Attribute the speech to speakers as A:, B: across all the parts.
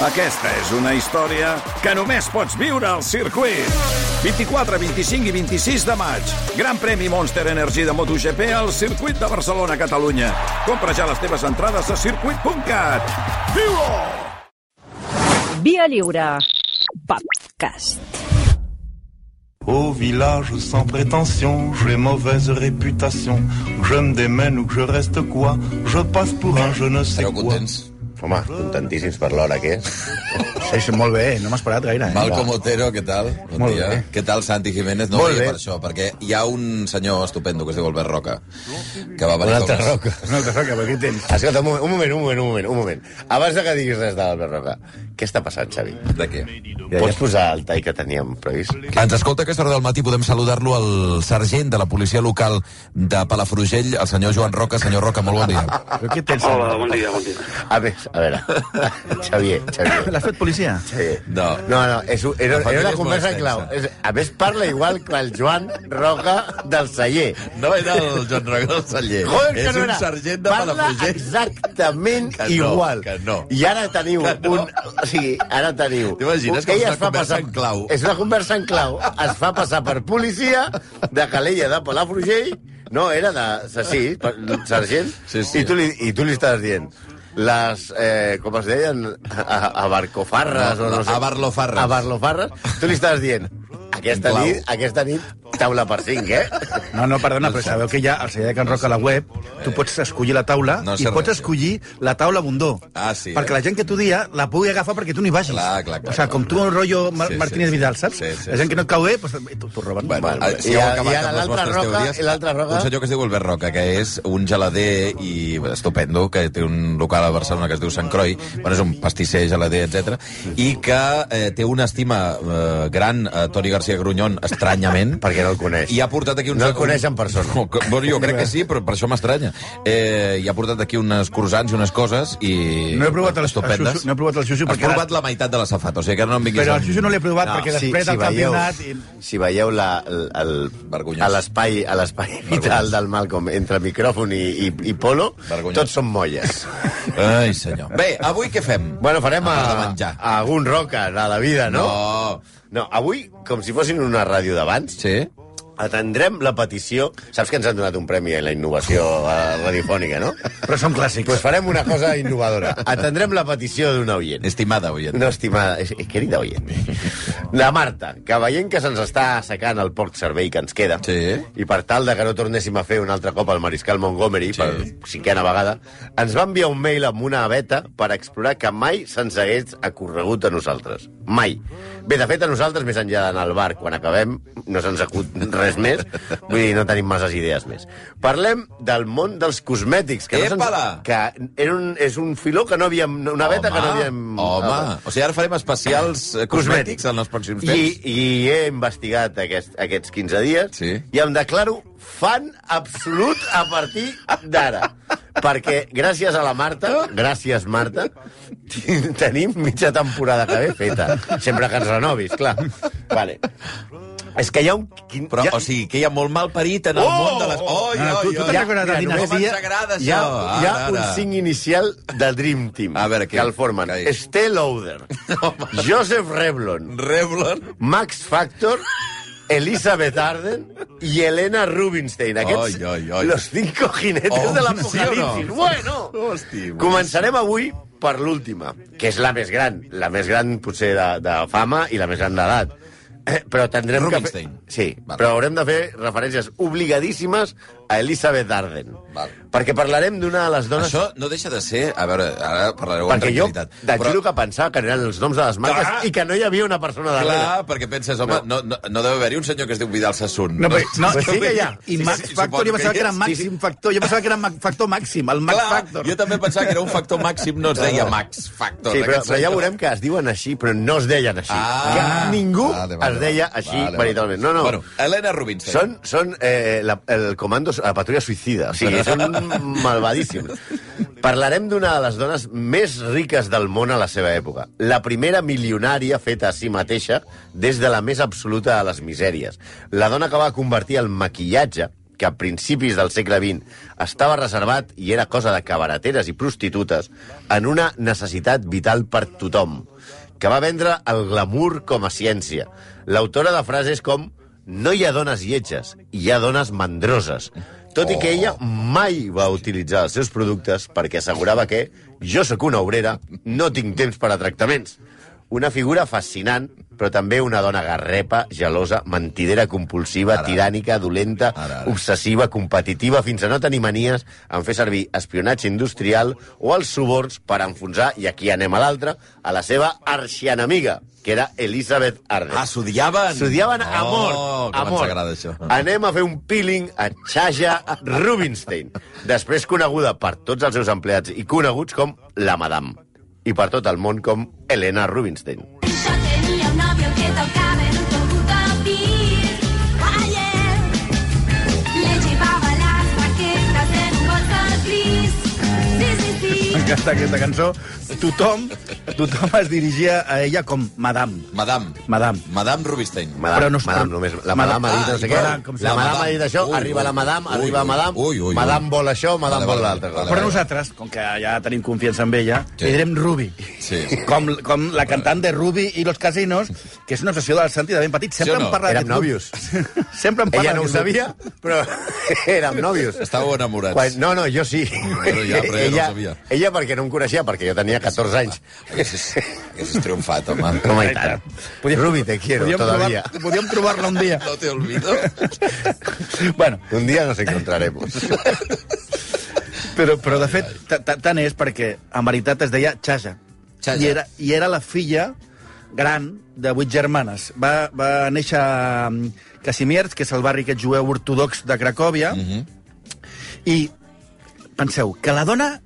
A: Aquesta és una història que només pots viure al circuit. 24, 25 i 26 de maig. Gran premi Monster Energy de MotoGP al circuit de Barcelona, Catalunya. Compra ja les teves entrades a circuit.cat. Viu-ho!
B: Via Lliure. Podcast.
C: Au village sans prétention, j'ai mauvaise réputation. Que je me démène ou que je reste quoi, je passe pour un je ne sais
D: Esteu
C: quoi.
D: contents?
E: Home, contentíssims per l'hora que és.
F: És molt bé, no m'ha esperat gaire. Eh?
D: Malcom Otero, què tal? Bon
F: Molt
D: dia.
F: bé.
D: Què tal, Santi Jiménez? No
F: Molt
D: veia
F: bé.
D: per això, perquè hi ha un senyor estupendo que es diu Albert Roca, que va
E: Un
D: venir...
E: altre
D: com-
E: roca.
F: No, que roca, per què tens?
E: Escolta, un moment, un moment, un moment, un moment, un moment. Abans de que diguis res de l'Albert Roca, què està passant, Xavi?
D: De què?
E: Pots posar el tall que teníem previst?
D: Ens escolta a aquesta hora del matí, podem saludar-lo al sergent de la policia local de Palafrugell, el senyor Joan Roca. Senyor Roca, molt bon dia.
F: Però què tens?
G: Hola, bon dia, bon dia.
E: A més, a veure, Xavier, Xavier.
F: L'has fet policia?
E: Xavier.
D: No.
E: No, no, és, un- era,
D: La família
E: era una
D: és
E: conversa
D: molt
E: clau.
D: extensa.
E: És- A més, parla igual que el Joan Roca del celler.
D: No era el Joan Roca del Celler.
E: Joder, que no era. Parla exactament
D: Que no,
E: igual.
D: que no.
E: I ara teniu
D: Que no.
E: un... O sigui, ara teniu...
D: T'imagines que és
E: Ella
D: una
E: es fa
D: conversa en clau?
E: És una conversa en clau. Es fa passar per policia de Calella de Palafrugell. No, era de... Sí, per- sergent.
D: Sí, sí.
E: I, tu li, I tu li estàs dient les, eh, com es deien, a, a barcofarres o no sé.
D: A barlofarres.
E: A barlofarres. Tu li estàs dient,
D: En
E: aquesta
D: clau.
E: nit, aquesta nit, taula per cinc, eh?
F: No, no, perdona, però sabeu que ja al celler de Can Roca a la web tu pots escollir la taula
D: No sé
F: i pots
D: res.
F: escollir la taula bondó.
D: Ah, sí,
F: Perquè
D: eh?
F: la gent que tu dia la pugui agafar perquè tu n'hi vagis.
D: Clar, clar, clar.
F: o sigui, com tu el rotllo Mar
D: Sí, sí,
F: Martínez
D: sí.
F: Vidal, saps?
D: Sí, sí,
F: la gent
D: sí.
F: que no et cau bé, doncs t'ho t'ho roben.
D: Bueno,
E: Bueno, eh,
D: si
E: i
D: heu
E: a-
D: acabat
E: i ara
D: amb les
E: l'altra
D: vostres
E: roca,
D: teories,
E: i l'altra roca?
D: Un senyor que es diu Albert Roca, que és un gelader i estupendo, que té un local a Barcelona que es diu Sant Croi, bueno, és un pastisser, gelader, etc. i que eh, té una estima eh, gran a Toni García Grunyón, estranyament,
E: Perquè no el coneix.
D: i ha portat aquí uns...
E: No el coneix en persona.
D: No, que- bueno, jo crec que sí, però per això m'estranya. Eh, I ha portat aquí unes croissants i unes coses i...
F: No he provat el, el,
D: estupendes.
F: xuxu, no he provat el xuxu,
D: Has
F: perquè
D: provat la meitat de la safata, o sigui que ara no em vinguis...
F: però el
D: amb-
F: xuxu no l'he provat
E: No,
F: Ah, perquè
E: si-
F: després
E: si
F: del
E: veieu-
F: campionat... i-
E: Si veieu la, el, el,
D: Vergonyós.
E: a l'espai a l'espai vital del Malcolm entre micròfon i, i, i polo,
D: Vergonyós.
E: tots són molles.
D: Ai, senyor. Bé, avui què fem?
E: bueno, farem a,
D: A part de menjar.
E: a algun roca de la vida, no?
D: No.
E: No, avui, com si fossin una ràdio d'abans,
D: Sí?
E: atendrem la petició... Saps que ens han donat un premi a la innovació eh, radiofònica, no?
F: Però són clàssics.
E: Pues farem una cosa innovadora. Atendrem la petició d'un oient.
D: Estimada, oient.
E: No, estimada, és, és querida oient. La Marta, que veient que se'ns està assecant el porc cervell que ens queda,
D: Sí.
E: i per tal de que no tornéssim a fer un altre cop al Mariscal Montgomery,
D: Sí.
E: sí. per cinquena vegada, ens va enviar un mail amb una aveta per explorar que mai se'ns hagués acorregut a nosaltres. Mai. Bé, de fet, a nosaltres, més enllà d'anar al bar quan acabem, no se'ns acut res més, vull dir, no tenim masses idees més. Parlem del món dels cosmètics, que, no
D: Épala!
E: se'ns, que era un, és un filó que no havíem... Una aveta que no havíem...
D: Home, o sigui, ara farem especials eh, cosmètics en els pròxims
E: I,
D: temps.
E: I he investigat aquest, aquests 15 dies
D: Sí.
E: i em declaro fan absolut a partir d'ara. perquè gràcies a la Marta, gràcies Marta, tin- tenim mitja temporada que ve feta. Sempre que ens renovis, clar. Vale. És que hi ha un... Quin,
D: Però,
E: hi ha,
D: o sigui, que hi ha molt mal parit en el
E: Oh!
D: món de les... Oi,
F: Ah,
D: oi,
F: tu- tu
D: oi,
F: ja quan et
D: Mira,
F: adines
D: com ens
F: dia,
D: agrada això.
E: hi ha, hi ha
D: Ara,
E: un
D: ara.
E: cinc inicial de Dream Team
D: A veure, què-
E: que el formen.
D: què és?
E: Estée Lauder, Joseph Reblon,
D: Revlon.
E: Max Factor, Elizabeth Arden i Elena Rubinstein. Aquests,
D: Ai, ai, ai.
E: los cinco jinetes
D: Oh,
E: de
D: sí o
E: l'apocalipsis.
D: no?
E: Bueno!
D: Hosti,
E: Començarem avui per l'última, que és la més gran. La més gran, potser, de, de fama i la més gran d'edat. Eh, però tindrem
D: Rubinstein.
E: Que fer... Sí,
D: Val.
E: però haurem de fer referències obligadíssimes a Elizabeth Arden.
D: Val.
E: Perquè parlarem d'una de les dones...
D: Això no deixa de ser... A veure, ara parlareu amb
E: perquè jo,
D: tranquil·litat.
E: de però... que pensava que eren els noms de les marques
D: Clar.
E: i que no hi havia una persona darrere.
D: Clar, perquè penses, home, no, no, no deu haver-hi un senyor que es diu Vidal Sassoon.
F: No, però, no,
E: Pues sí que hi ha.
F: I Max Factor, jo pensava que era
D: Max.
F: màxim factor, jo pensava que era ma- factor màxim, el Max
D: Clar,
F: Factor.
D: jo també pensava que era un factor màxim, no es deia Max Factor.
E: Sí, però,
D: aquest
E: però ja
D: senyor.
E: veurem que es diuen així, però no es deien així.
D: Doncs Ah.
E: que ningú
D: Vale, vale,
E: es deia
D: vale.
E: així,
D: Vale, vale.
E: veritablement. No, no.
D: Bueno, Helena Rubinstein.
E: Són, són eh, la, el comando, la patrulla suïcida. O sigui, són malvadíssims. Parlarem d'una de les dones més riques del món a la seva època. La primera milionària feta a si mateixa des de la més absoluta de les misèries. La dona que va convertir el maquillatge que a principis del segle XX estava reservat i era cosa de cabareteres i prostitutes en una necessitat vital per tothom, que va vendre el glamour com a ciència. L'autora de frases com no hi ha dones lletges, hi ha dones mandroses. Tot i
D: Oh.
E: que ella mai va utilitzar els seus productes perquè assegurava que jo sóc una obrera, no tinc temps per a tractaments. Una figura fascinant, però també una dona garrepa, gelosa, mentidera compulsiva,
D: Ara.
E: tirànica, dolenta,
D: Ara, ara.
E: obsessiva, competitiva, fins a no tenir manies en fer servir espionatge industrial o els suborns per enfonsar, i aquí anem a l'altra, a la seva arxienemiga, que era Elizabeth Arden.
D: Ah, s'odiaven?
E: S'odiaven a
D: Oh,
E: mort.
D: com
E: a
D: ens
E: mort.
D: agrada això.
E: Anem a fer un peeling a Chaja Rubinstein, després coneguda per tots els seus empleats i coneguts com la Madame, i per tot el món com Elena Rubinstein.
G: Yo tenía un novio que tocaba en un conjunto beat. Ayer le llevaba las maquetas en un bolso gris. Sí, sí, sí.
F: M'encanta aquesta cançó. Tothom, tothom es dirigia a ella com Madame.
D: Madame.
F: Madame.
D: Madame Rubinstein.
E: Madame,
F: Però
E: però
F: no
E: no
F: es-
E: Madame
F: però-
E: només... La
F: Madame-
E: Madame ha dit
F: Ah,
E: no sé
F: i
E: què.
F: parla com si-
E: La
D: la
E: Madame ha
D: Madame.
E: dit això,
D: Ui,
E: arriba
D: ui,
E: la Madame,
D: ui,
E: arriba
D: ui,
E: Madame,
D: ui, ui, ui.
E: Madame vol això, Madame
D: Vale, vale,
E: vol l'altre.
D: vale,
F: Però nosaltres, com que ja tenim confiança en ella,
D: Sí.
F: li direm Ruby.
D: Sí.
F: Com, com la cantant de Ruby i los casinos, que és una obsessió del Santi de ben petit.
D: Sí
F: Sempre
D: o no?
F: en parla
E: Érem
F: d'aquest grup. Sempre en parla
E: Ella no ho
F: d'aquest grup.
E: sabia, però érem nòvios.
D: Estàveu enamorats.
E: Quan, no, no, jo sí.
D: Però ja- però ja no ho sabia.
E: ella perquè no em coneixia, perquè jo tenia 14 anys.
D: Haguessis, haguessis triomfat, home.
E: Home, i tant. Ruby, te quiero,
F: Podíem
E: todavía.
F: trobar- Podíem trobar-la un dia.
D: No te olvido.
F: Bueno,
E: Un día nos encontraremos.
F: Però, però de fet, ta- ta- tant és perquè en veritat es deia Chaja.
D: Chaja.
F: I era, I era la filla gran de vuit germanes. Va, va néixer a Casimierz, que és el barri aquest jueu ortodox de Cracòvia, mm -hmm. i penseu, que la dona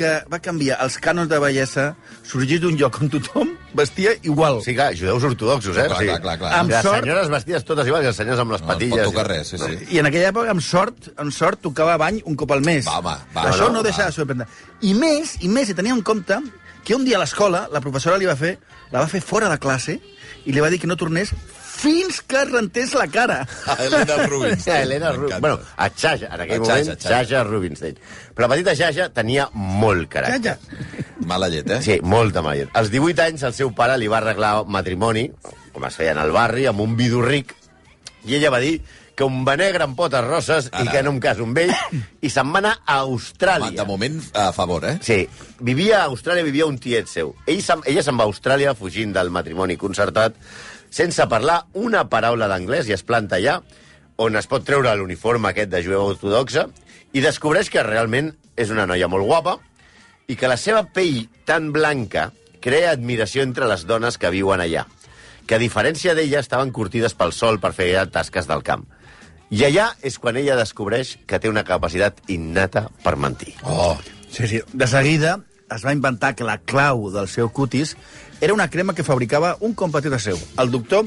F: que va canviar els cànons de bellesa sorgís d'un lloc on tothom vestia igual.
E: O sigui, clar, judeus ortodoxos, eh?
D: Clar,
E: o sigui,
D: clar, clar, clar.
F: Amb
E: les
F: sort-
E: senyores vestides totes iguals i els senyors amb les
D: No ens
E: patilles.
D: pot tocar res, sí, sí.
F: I en aquella època, amb sort, amb sort tocava bany un cop al mes.
D: Va, home, va,
F: Això
D: no,
F: no,
D: va.
F: deixa de sorprendre. I més, i més, i tenia en compte que un dia a l'escola la professora li va fer, la va fer fora de classe i li va dir que no tornés fins que es rentés la cara.
D: A Elena Rubinstein.
E: A Elena Rubinstein. Bueno, a Xaja, en aquell
D: A Xaja,
E: moment,
D: Xaja.
E: Xaja Rubinstein. Però la petita Xaja tenia molt caràcter.
F: Calla.
D: Mala llet, eh?
E: Sí, molt de mayor. Als 18 anys, el seu pare li va arreglar matrimoni, com es feia en el barri, amb un vidu ric, i ella va dir que un benegre amb potes roses i
D: Ara.
E: que no em caso amb ell, i se'n va anar a
D: Home, de
E: Austràlia.
D: moment, a favor, eh?
E: Sí, vivia a Austràlia, vivia un tiet seu. Ell se'n- ella se'n va a Austràlia fugint del matrimoni concertat, sense parlar una paraula d'anglès, i es planta allà, on es pot treure l'uniforme aquest de jueva ortodoxa, i descobreix que realment és una noia molt guapa, i que la seva pell tan blanca crea admiració entre les dones que viuen allà, que a diferència d'ella estaven curtides pel sol per fer tasques del camp. I allà és quan ella descobreix que té una capacitat innata per mentir.
D: Oh,
F: Sí, sí. De seguida es va inventar que la clau del seu cutis era una crema que fabricava un compatriota seu, el doctor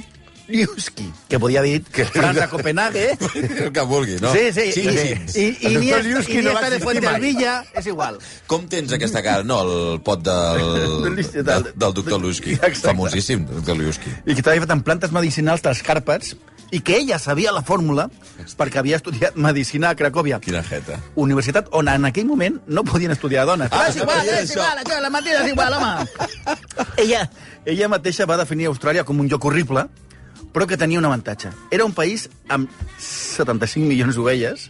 F: Liuski, que podia dir que França Copenhague,
D: el que vulgui, no?
F: Sí, sí.
D: sí,
F: I,
D: sí.
E: El
F: i, i,
E: doctor
F: Iniesta,
E: Liuski no
F: Iniesta
E: va
F: de
E: existir
F: Fuentervilla és igual.
D: Com tens aquesta cara? No, el pot del,
F: Del-
D: de, del doctor Lusky.
F: Exacte.
D: Famosíssim, doctor Lusky.
F: I que treballat en plantes medicinals dels Carpats i que ella sabia la fórmula perquè havia estudiat medicina a Cracòvia.
D: Quina jeta.
F: Universitat on en aquell moment no podien estudiar dones.
D: Ah,
F: Ah, és igual,
D: sabia
F: és
D: això.
F: igual, això, la mateixa és igual, home. ella, ella mateixa va definir Austràlia com un lloc horrible, però que tenia un avantatge. Era un país amb 75 milions d'ovelles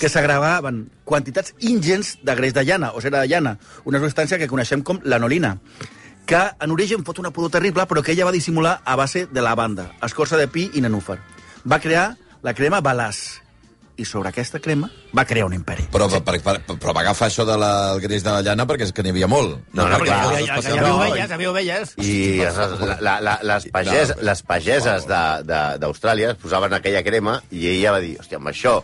F: que s'agravaven quantitats ingents de greix de llana, o cera de llana, una substància que coneixem com l'anolina, que en origen fot una pudor terrible, però que ella va dissimular a base de lavanda, escorça de pi i nenúfar. Va crear la crema Balàs, i sobre aquesta crema va crear un imperi.
D: Però, sí. per, per, però va agafar això del de la- el greix de la llana perquè és que n'hi havia molt.
E: No, no,
D: perquè
E: clar.
D: fos
E: Ja, ja, ja,
D: especialment-
E: ja, ja, ja,
D: No,
E: ja, ja,
F: havia ovelles.
E: I les, la, la, les, pagès,
D: No,
E: les pageses de- de- d'Austràlia es posaven aquella crema i ella va dir, hòstia, amb això,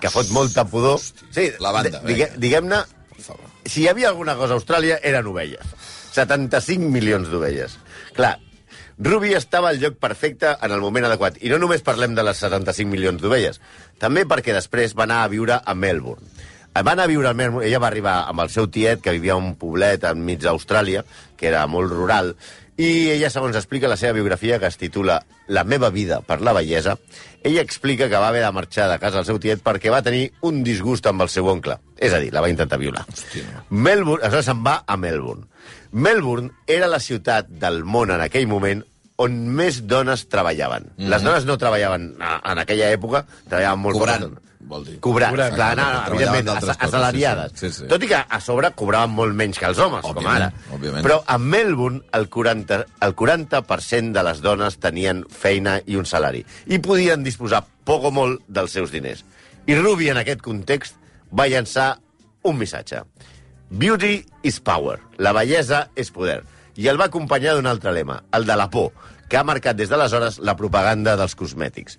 E: que fot molta pudor... Sí,
D: lavanda,
E: di- digue-
D: vinga.
E: Diguem-ne,
D: favor.
E: si hi havia alguna cosa a Austràlia, eren ovelles. 75 milions d'ovelles. Clar, Ruby estava al lloc perfecte en el moment adequat. I no només parlem de les 75 milions d'ovelles, també perquè després va anar a viure a Melbourne. Va anar a viure al Melbourne, ella va arribar amb el seu tiet, que vivia a un poblet enmig d'Austràlia, que era molt rural, i ella, segons explica la seva biografia, que es titula La meva vida per la bellesa, ella explica que va haver de marxar de casa al seu tiet perquè va tenir un disgust amb el seu oncle. És a dir, la va intentar violar. Hòstia. Melbourne, aleshores se'n va a Melbourne. Melbourne era la ciutat del món en aquell moment on més dones treballaven. Mm -hmm.
D: Mhm.
E: Les dones no treballaven a- en aquella època, treballaven molt
D: Cobrant,
E: poques dones.
D: vol dir.
E: Cobrant,
D: Cobrant,
E: clar, no, no,
D: treballaven
E: evidentment,
D: d'altres
E: asa-
D: coses,
E: assalariades.
D: sí, sí. Sí, sí.
E: Tot i que a sobre cobraven molt menys que els homes, com
D: Òbviament,
E: ara.
D: òbviament.
E: Però a Melbourne el 40, el 40% de les dones tenien feina i un salari i podien disposar poc o molt dels seus diners. I Ruby, en aquest context, va llançar un missatge. Beauty is power. La bellesa és poder. I el va acompanyar d'un altre lema, el de la por, que ha marcat des d'aleshores la propaganda dels cosmètics.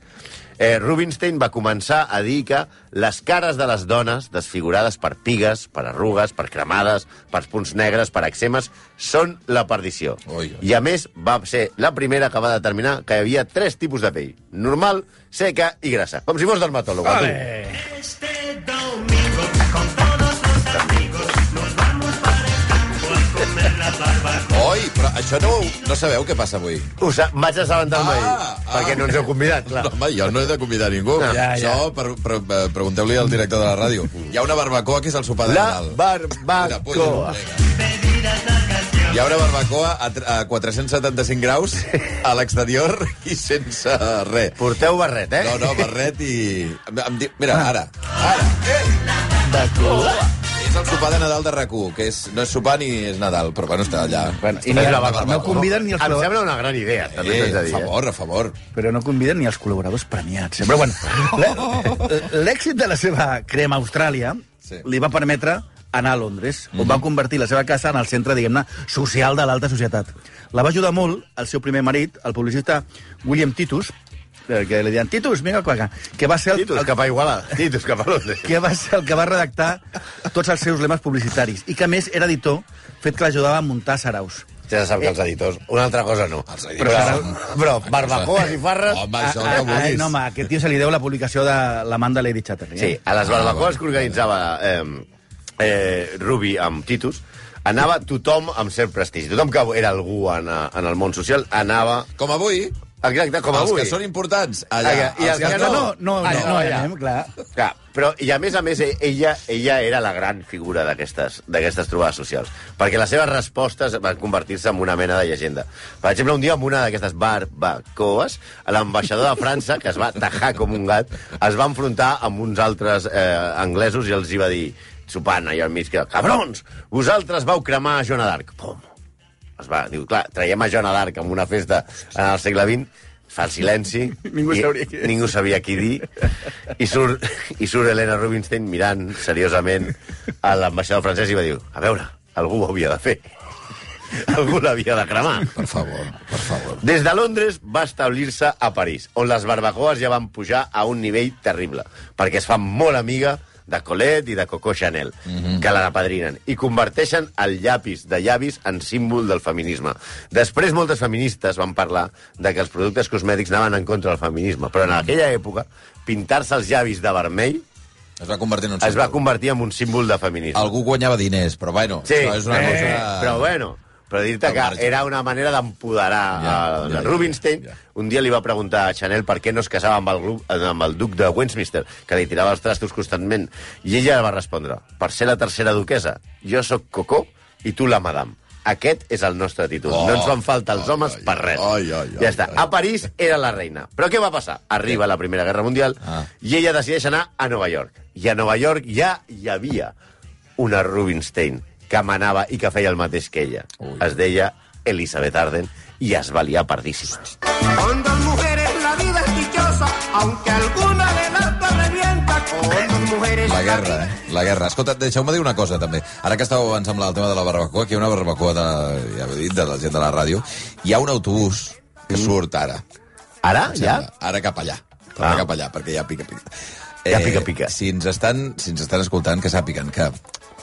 E: Eh, Rubinstein va començar a dir que les cares de les dones, desfigurades per pigues, per arrugues, per cremades, per punts negres, per eczemes, són la perdició.
D: Oi, oi.
E: I, a més, va ser la primera que va determinar que hi havia tres tipus de pell. Normal, seca i grassa. Com si fos dermatòloga. tu.
D: Oi, però això no, no sabeu què passa avui.
E: Ho sa- vaig assabentar-me ahir,
D: Ah, ah.
E: perquè no ens heu convidat, clar.
D: No, home, jo no he de convidar ningú. Ja,
E: No.
D: ja. Això, per, per, per, pregunteu-li al director de la ràdio. Hi ha una barbacoa que és el sopar de
E: La
D: Nadal. Mira, puja, eh.
E: barbacoa.
D: vinga. Hi ha una barbacoa a, tr- a 475 graus a l'exterior i sense res.
E: Porteu barret, eh?
D: No, no, barret i... Em, em di... Mira, ara. Ara. Eh! És el sopar de Nadal de rac que és, no és sopar ni és Nadal, però bueno, està allà.
F: Bueno, i no,
E: És la
F: no,
E: barbacoa.
F: no conviden ni els
E: Em
F: col·laboradors,
E: sembla una gran idea, també
D: Eh,
E: t'haig de
D: a
E: dir. eh?
D: favor, a favor.
F: però no conviden ni els col·laboradors premiats. eh? Però bueno, l'è- l'èxit de la seva crema a Austràlia
D: Sí.
F: li va permetre anar a Londres, on va convertir la seva casa en el centre, diguem-ne, social de l'alta societat. La va ajudar molt el seu primer marit, el publicista William Titus, eh, que li deien, Titus, vinga, qua, acá", que va ser el,
E: Titus
F: el,
E: cap a Igualada. Titus cap a Londres.
F: que va ser el que va redactar tots els seus lemes publicitaris i que, a més, era editor, fet que l'ajudava a muntar saraus.
E: Ja se sap que els editors... Una altra cosa no.
D: Eh, Els editors.
E: Però, però barbacoes i farres...
D: Home, això
F: Ah,
D: que vulguis.
F: no, home, a aquest tio se li deu la publicació de l'Amanda Lady
E: ah,
F: Chatterley. eh?
E: Sí, a
D: Ah,
E: les barbacoes que organitzava eh, eh, Rubi amb Titus, anava tothom amb cert prestigi. Tothom que era algú en, eh, en el món social anava...
D: Com avui,
E: Exacte, com
D: els
E: avui.
D: que són importants, allà.
E: Allà, i els que
F: No, no, no,
E: Ah,
F: no,
E: no,
F: no,
E: ja.
F: anem, clar.
E: Clar, però, i a més a més, e- ella, ella era la gran figura d'aquestes d'aquestes trobades socials, perquè les seves respostes van convertir-se en una mena de llegenda. Per exemple, un dia en una d'aquestes barbacoes, l'ambaixador de França, que es va tajar com un gat, es va enfrontar amb uns altres eh, anglesos i els hi va dir, sopant allò al mig, que, cabrons, vosaltres vau cremar a Joana d'Arc. Pum, es va, diu, clar, traiem a Joana d'Arc en una festa en el segle XX, fa el silenci,
F: Ningú
E: i-
F: sabria qui és.
E: ningú sabia qui dir, i surt, i surt Helena Rubinstein mirant seriosament a l'ambaixador francès i va dir, a veure, algú ho havia de fer. Algú l'havia de cremar.
D: Per favor, per favor.
E: Des de Londres va establir-se a París, on les barbacoes ja van pujar a un nivell terrible, perquè es fan molt amiga de Colette i de Coco Chanel, que la apadrinen, i converteixen el llapis de llavis en símbol del feminisme. Després, moltes feministes van parlar de que els productes cosmètics anaven en contra del feminisme, però en aquella època, pintar-se els llavis de vermell
D: Es va convertir en un
E: es va
D: símbol.
E: convertir en un símbol de feminisme.
D: Algú guanyava diners, però bueno,
E: Sí,
D: això és una
E: eh,
D: cosa...
E: però bueno, però dir-te
D: Al
E: que
D: marge.
E: era una manera
D: Ja,
E: d'empoderar ja,
D: ja, ja,
E: Rubinstein.
D: ja, ja.
E: Un dia li va preguntar a Chanel per què no es casava amb el, grup, amb el duc de Westminster, que li tirava els trastos constantment, i ella va respondre, per ser la tercera duquesa, jo sóc Cocó i tu la madame. Aquest és el nostre títol.
D: Oh,
E: no ens fan falta els
D: ai,
E: homes
D: ai,
E: per res.
D: ai, ai, ai,
E: ja està.
D: ai.
E: A París era la reina. Però què va passar? Arriba la Primera Guerra Mundial
D: Ah.
E: i ella decideix anar a Nova York. I a Nova York ja hi havia una Rubinstein que manava i que feia el mateix que ella.
D: Ui.
E: Es deia Elizabeth Arden i es va liar pardíssima.
H: Con dos mujeres la vida es dichosa, aunque alguna de las dos revienta. Con dos mujeres
D: La guerra, eh? La guerra. Escolta, deixeu-me dir una cosa, també. Ara que estàveu abans amb el tema de la barbacoa, que hi ha una barbacoa de, ja ho he dit, de la gent de la ràdio, hi ha un autobús que
E: Mm.
D: surt ara.
E: Ara, ja?
D: Sembla. Ara cap allà.
E: Ah.
D: Ara cap allà, perquè ja pica, pica.
E: Ja pica, pica.
D: Si ens estan, si ens estan escoltant, que sàpiguen que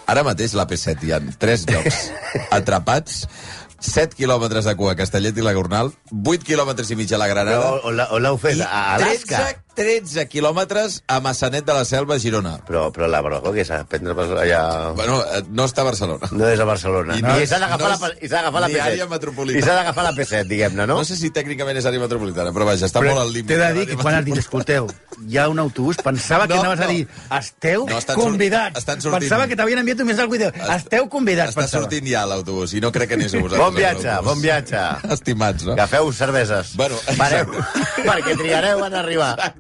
D: ara mateix a l'AP7 hi ha tres llocs atrapats, 7 quilòmetres de cua a Castellet i la Gornal, 8 quilòmetres i mig a la Granada...
E: Però on la- on l'heu fet?
D: I
E: A Alaska?
D: 13 13 quilòmetres a Massanet de la Selva, Girona.
E: Però, però la broca que s'ha de prendre per allà...
D: Bueno, eh, no està a Barcelona.
E: No és a Barcelona.
D: I
E: I,
D: no és-
E: s'ha d'agafar
D: no
E: la,
D: és
E: i s'ha d'agafar la
D: ni
E: P7.
D: àrea metropolitana.
E: I s'ha d'agafar la P7, diguem-ne, no?
D: No sé si tècnicament és àrea metropolitana, però vaja, està molt al límit.
F: T'he de dir
D: l'àrea
F: que quan has dit, escolteu, hi ha un autobús, pensava que
D: No,
F: anaves
D: no.
F: a dir, esteu
D: No, estan
F: convidats.
D: sortint- estan sortint.
F: Pensava que t'havien enviat només algú i diu, esteu convidats,
D: Està
F: pensava.
D: sortint ja l'autobús, i no crec que anés a vosaltres.
E: Bon viatge,
D: l'autobús.
E: bon viatge.
D: Estimats, no?
E: Agafeu cerveses.
D: Bueno,
E: Pareu,
D: exacte.
E: perquè trigareu en arribar.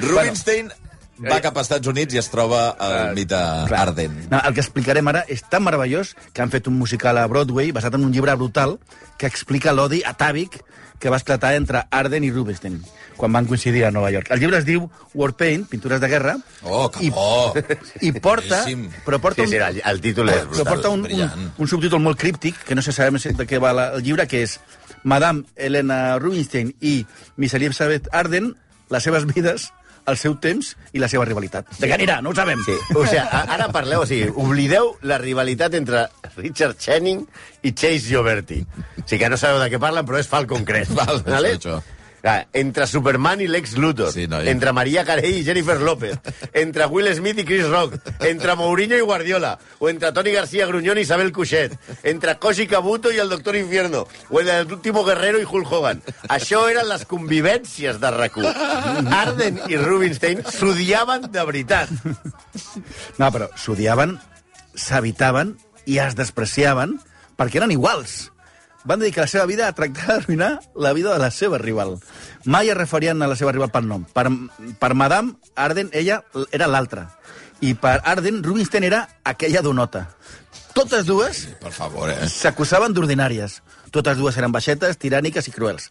D: Rubinstein va
E: eh,
D: cap als Estats Units i es troba al mite Arden.
F: No, el que explicarem ara és tan meravellós que han fet un musical a Broadway basat en un llibre brutal que explica l'odi atàvic que va esclatar entre Arden i Rubinstein quan van coincidir a Nova York. El llibre es diu War Paint, Pintures de Guerra,
D: Oh, que bo!
F: i, i porta,
D: Boníssim.
F: però porta
E: Sí,
F: un,
E: sí, el, el títol és
F: però
E: brutal.
F: porta un,
D: brillant.
F: un, un subtítol molt críptic, que no se sabem de què va la, el llibre, que és Madame Helena Rubinstein i Miss Elizabeth Arden, les seves vides, el seu temps i la seva rivalitat. De què anirà? No ho sabem.
E: Sí. O sigui, a- ara parleu, o sigui, oblideu la rivalitat entre Richard Channing i Chase Gioberti. O sigui que no sabeu de què parlen, però és Falcon Crest.
D: Val, és això.
E: Clar, Entre Superman i Lex Luthor,
D: Sí,
E: sí,
D: noi.
E: entre Maria Carey i Jennifer López, entre Will Smith i Chris Rock, entre Mourinho i Guardiola, o entre Toni García Gruñón i Isabel Cuixet, entre Koji Kabuto i el Doctor Infierno, o entre el Último Guerrero i Hulk Hogan. Això eren les convivències de rac Arden i Rubinstein s'odiaven de veritat.
F: No, però s'odiaven, s'evitaven i es despreciaven perquè eren iguals. Van dedicar la seva vida a tractar d'arruïnar la vida de la seva rival. Mai es referien a la seva rival per nom. Per, per Madame Arden, ella l- era l'altra. I per Arden, Rubinstein era aquella donota. Totes dues
D: Per favor, eh?
F: s'acusaven d'ordinàries. Totes dues eren baixetes, tiràniques i cruels.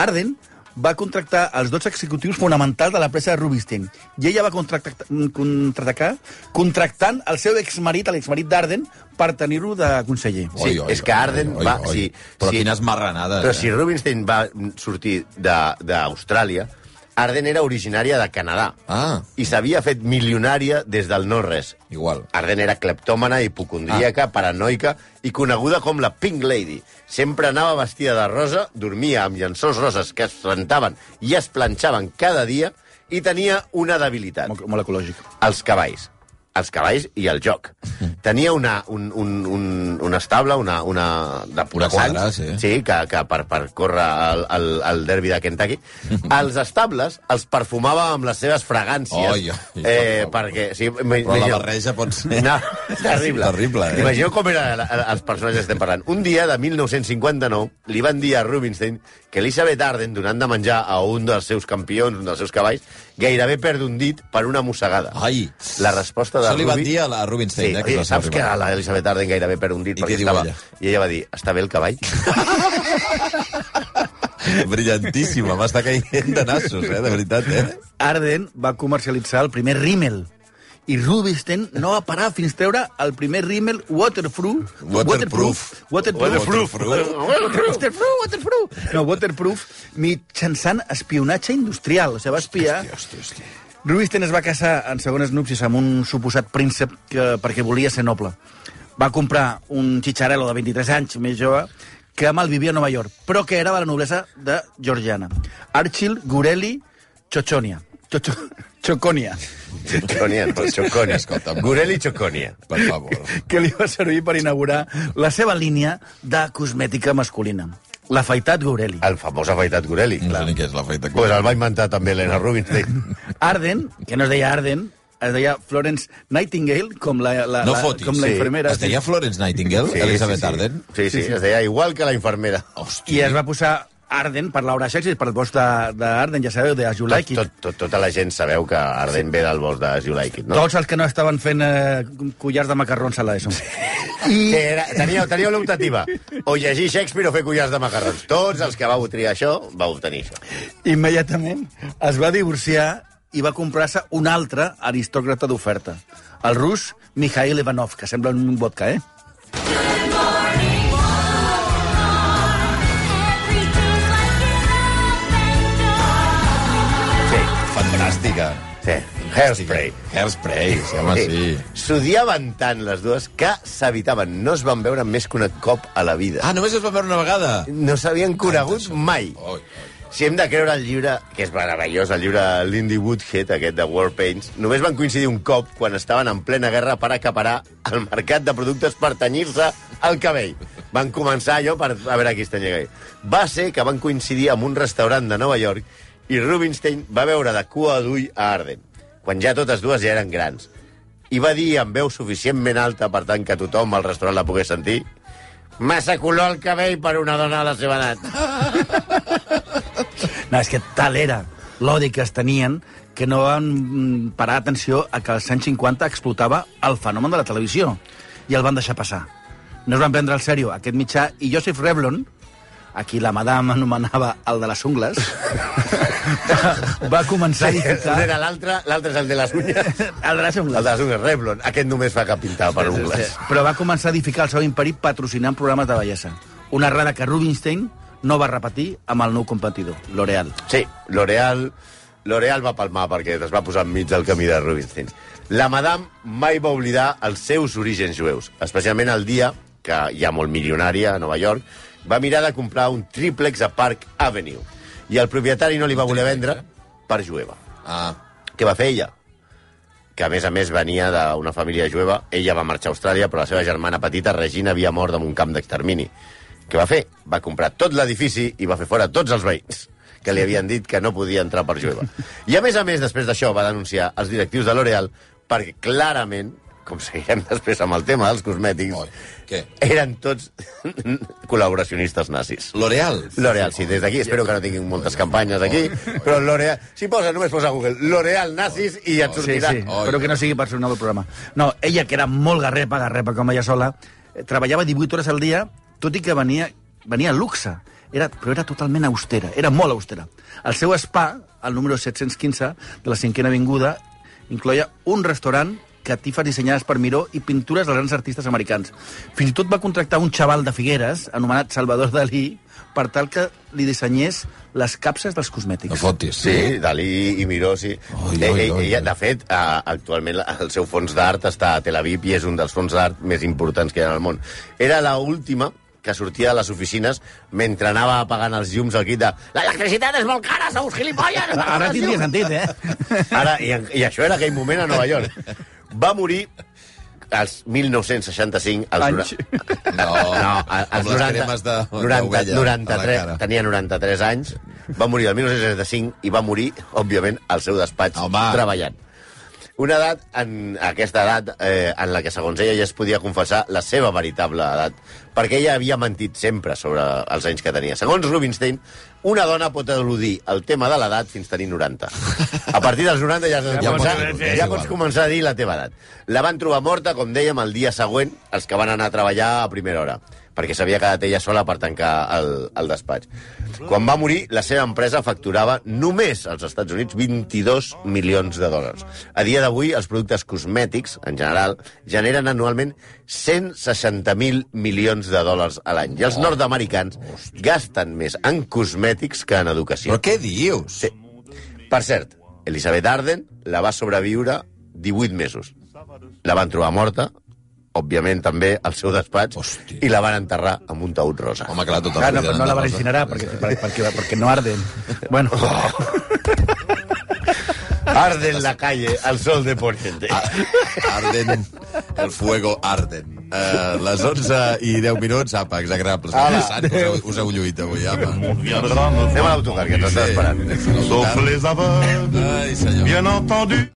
F: Arden va contractar els 12 executius fonamentals de la presa de Rubinstein i ella va contracta- contraatacar contractant el seu exmarit, l'exmarit d'Arden, per tenir-lo de conseller.
E: Sí, és que Arden va- sí,
D: Però
E: sí.
D: quines marranades,
E: Però si Rubinstein va sortir de- d'Austràlia, Arden era originària de Canadà
D: Ah.
E: i s'havia fet milionària des del no-res.
D: Igual.
E: Arden era cleptòmana, hipocondríaca, ah. paranoica i coneguda com la Pink Lady. Sempre anava vestida de rosa, dormia amb llençols roses que es rentaven i es planxaven cada dia i tenia una debilitat
F: Molt, molt ecològic.
E: els cavalls els cavalls i el joc. Tenia una, un, un, un, un estable, una, una de pura
D: quadra, sí.
E: sí que, que per, per córrer el, el, el derbi de Kentucky. Els estables els perfumava amb les seves fragàncies.
D: Ai, ai, ai,
E: eh,
D: per favor.
E: perquè... Sí,
D: Però la
E: imagina-
D: barreja pot ser...
E: no, és terrible.
D: Terrible, eh?
E: Imagineu com eren els personatges que estem parlant. Un dia, de 1959, li van dir a Rubinstein que Elizabeth Arden, donant de menjar a un dels seus campions, un dels seus cavalls, gairebé perd un dit per una mossegada.
D: Ai!
E: La resposta de
D: Això li van
E: Rubi-
D: dir a la Rubinstein,
E: Sí,
D: eh?
E: oye,
D: és la
E: saps
D: seva
E: que
D: rival.
E: l'Elisabet Arden gairebé perd un dit
D: I
E: perquè
D: què diu
E: estava...
D: ella?
E: I ella va dir, està bé el cavall?
D: Brillantíssima, m'està caient de nassos, eh? De veritat, eh?
F: Arden va comercialitzar el primer rímel i Rubinstein no va parar fins treure el primer rímel waterproof.
D: Waterproof.
F: Waterproof.
D: Waterproof.
F: Waterproof, waterproof. No, waterproof mitjançant espionatge industrial. O sigui, va espiar...
D: Hòstia, hòstia.
F: Rubinstein es va casar en segones núpcies amb un suposat príncep que, perquè volia ser noble. Va comprar un xicharelo de 23 anys, més jove, que malvivia a Nova York, però que era de la noblesa de Georgiana. Archil Gureli Chochonia. Chocho... Choconia.
E: Choconia, no, Choconia.
D: Escolta'm.
E: Gurel i Choconia.
D: Per favor.
F: que li va servir per inaugurar la seva línia de cosmètica masculina. L'afaitat Gureli.
E: El famós afaitat Gureli.
D: No sé ni què és la feita.
E: Pues el va inventar també Elena Rubinstein.
F: Arden, que no es deia Arden, es deia Florence Nightingale, com la, la,
D: No
F: la,
D: fotis.
F: com la
D: sí.
F: infermera.
D: Es deia Florence Nightingale, sí, Elizabeth sí, sí. Arden?
E: Sí, sí, es deia igual que la infermera.
D: Hòstia.
F: I es va posar Arden per Laura Shakespeare, per el bosc de- d'Arden, ja sabeu, de As You Like
E: Tot,
F: It.
E: tot, tot, tota la gent sabeu que Arden ve del bosc de You Like It, no?
F: Tots els que no estaven fent eh, collars de macarrons a l'ESO.
E: Que
D: Eh.
E: Era, teníeu, teníeu l'optativa. O llegir Shakespeare o fer collars de macarrons. Tots els que vau triar això, vau obtenir això.
F: Immediatament es va divorciar i va comprar-se un altre aristòcrata d'oferta, el rus Mikhail Ivanov, que sembla un vodka, eh?
G: Everything's like an open door.
D: Fantàstica.
E: Sí. Hairspray.
D: Hairspray, sí, home, sí.
E: S'odiaven tant les dues que s'evitaven. No es van veure més que un cop a la vida.
D: Ah, només es va veure una vegada.
E: No s'havien conegut mai.
D: Oi, oi.
E: Si hem de creure el llibre, que és meravellós, el llibre de Lindy Woodhead, aquest de World Paints, només van coincidir un cop quan estaven en plena guerra per acaparar el mercat de productes per tenyir-se el cabell. Van començar allò per a veure qui es tenia el cabell. Va ser que van coincidir amb un restaurant de Nova York i Rubinstein va veure de cua d'ull a Arden, quan ja totes dues ja eren grans. I va dir amb veu suficientment alta per tant que tothom al restaurant la pogués sentir Massa color al cabell per una dona de la seva edat.
F: No, és que tal era l'odi que es tenien que no van mm, parar atenció a que als anys 50 explotava el fenomen de la televisió i el van deixar passar. No es van prendre al sèrio aquest mitjà i Joseph Revlon, a qui la madame anomenava el de les ungles, va començar a
E: Un
F: edificar...
E: era l'altre, l'altre és el de les uñas.
F: El de les ungles.
E: El de les uñas, Revlon. Aquest només fa que pintar per ungles.
F: Però va començar a edificar el seu imperi patrocinant programes de bellesa. Una errada que Rubinstein no va repetir amb el nou competidor, L'Oreal.
E: Sí, L'Oreal... L'Oreal va palmar perquè es va posar enmig del camí de Rubinstein. La madame mai va oblidar els seus orígens jueus, especialment el dia que, ja molt milionària a Nova York, va mirar de comprar un triplex a Park Avenue. I el propietari no li va voler vendre per jueva.
D: Ah,
E: Què va fer ella? Que, a més a més, venia d'una família jueva. Ella va marxar a Austràlia, però la seva germana petita, Regina, havia mort en un camp d'extermini. Què va fer? Va comprar tot l'edifici i va fer fora tots els veïns que li havien dit que no podia entrar per jueva. I, a més a més, després d'això, va denunciar els directius de L'Oreal perquè, clarament, com seguirem després amb el tema dels cosmètics,
D: Oi, què?
E: eren tots col·laboracionistes nazis.
D: L'Oreal.
E: L'Oreal, sí, des d'aquí. Espero que no tinguin moltes campanyes aquí, però L'Oreal... Si posa, només posa a Google L'Oreal nazis i et sortirà...
F: Sí, sí,
D: Oi.
F: però que no sigui per sonar del programa. No, ella, que era molt garrepa, garrepa com ella sola, eh, treballava 18 hores al dia, tot i que venia, venia luxe. Era, però era totalment austera, era molt austera. El seu spa, al número 715 de la cinquena avinguda, incloia un restaurant catifes dissenyades per Miró i pintures dels grans artistes americans. Fins i tot va contractar un xaval de Figueres, anomenat Salvador Dalí, per tal que li dissenyés les capses dels cosmètics.
D: No fotis.
E: Sí, Dalí i Miró, sí.
D: Oi, oi,
E: Eh, eh,
D: oi, oi.
E: ella, de fet, eh, actualment la- el seu fons d'art està a Tel Aviv i és un dels fons d'art més importants que hi ha al món. Era la última que sortia de les oficines mentre anava apagant els llums al kit de l'electricitat és molt cara, sou uns gilipolles!
F: Ara
E: apaguen els
F: tindria
E: llums."
F: sentit, eh?
E: Ara, i, I això era aquell moment a Nova York. Va morir als 1965, als
F: Anys.
E: nora-
D: No,
E: no, a-
D: amb
E: als
D: les
E: 90,
D: cremes de-
E: 90,
D: d'ovella a la
E: 93,
D: cara.
E: tenia 93 anys, va morir el 1965 i va morir, òbviament, al seu despatx
D: Home.
E: treballant. Una edat, en aquesta edat, eh, en la que, segons ella, ja es podia confessar la seva veritable edat, perquè ella havia mentit sempre sobre els anys que tenia. Segons Rubinstein, una dona pot eludir el tema de l'edat fins tenir 90. A partir dels 90 ja, ja,
D: Ja
E: ja,
D: pots
E: pots,
D: eludir,
E: ja,
D: és
E: ja
D: igual.
E: pots començar a dir la teva edat. La van trobar morta, com dèiem, el dia següent, els que van anar a treballar a primera hora, perquè s'havia quedat ella sola per tancar el, el despatx. Quan va morir, la seva empresa facturava només als Estats Units 22 milions de dòlars. A dia d'avui, els productes cosmètics, en general, generen anualment 160.000 milions de dòlars a l'any. I els nord-americans gasten més en cosmètics que en educació.
D: Però què dius?
E: Sí. Per cert, Elisabet Arden la va sobreviure 18 mesos. La van trobar morta, òbviament també al seu despatx,
D: Hòstia.
E: i la van enterrar amb un taüt rosa.
D: Home, clar, tot el
F: Claro,
D: cuiden
F: pero no la van a
D: endavant.
F: incinerar porque, para- porque, porque no arden. Bueno,
E: Arden la calle al sol de Poniente.
D: Ah, Arden, el fuego arden. Uh, les 11 i 10 minuts, apa, exagrables.
E: Ala,
D: Sant, us, heu, us heu lluit avui, apa.
C: Viendra notre
E: Anem a l'autocar, que t'està esperant.
C: sauf les aveugles,
D: Ai, senyor.
C: bien entendu.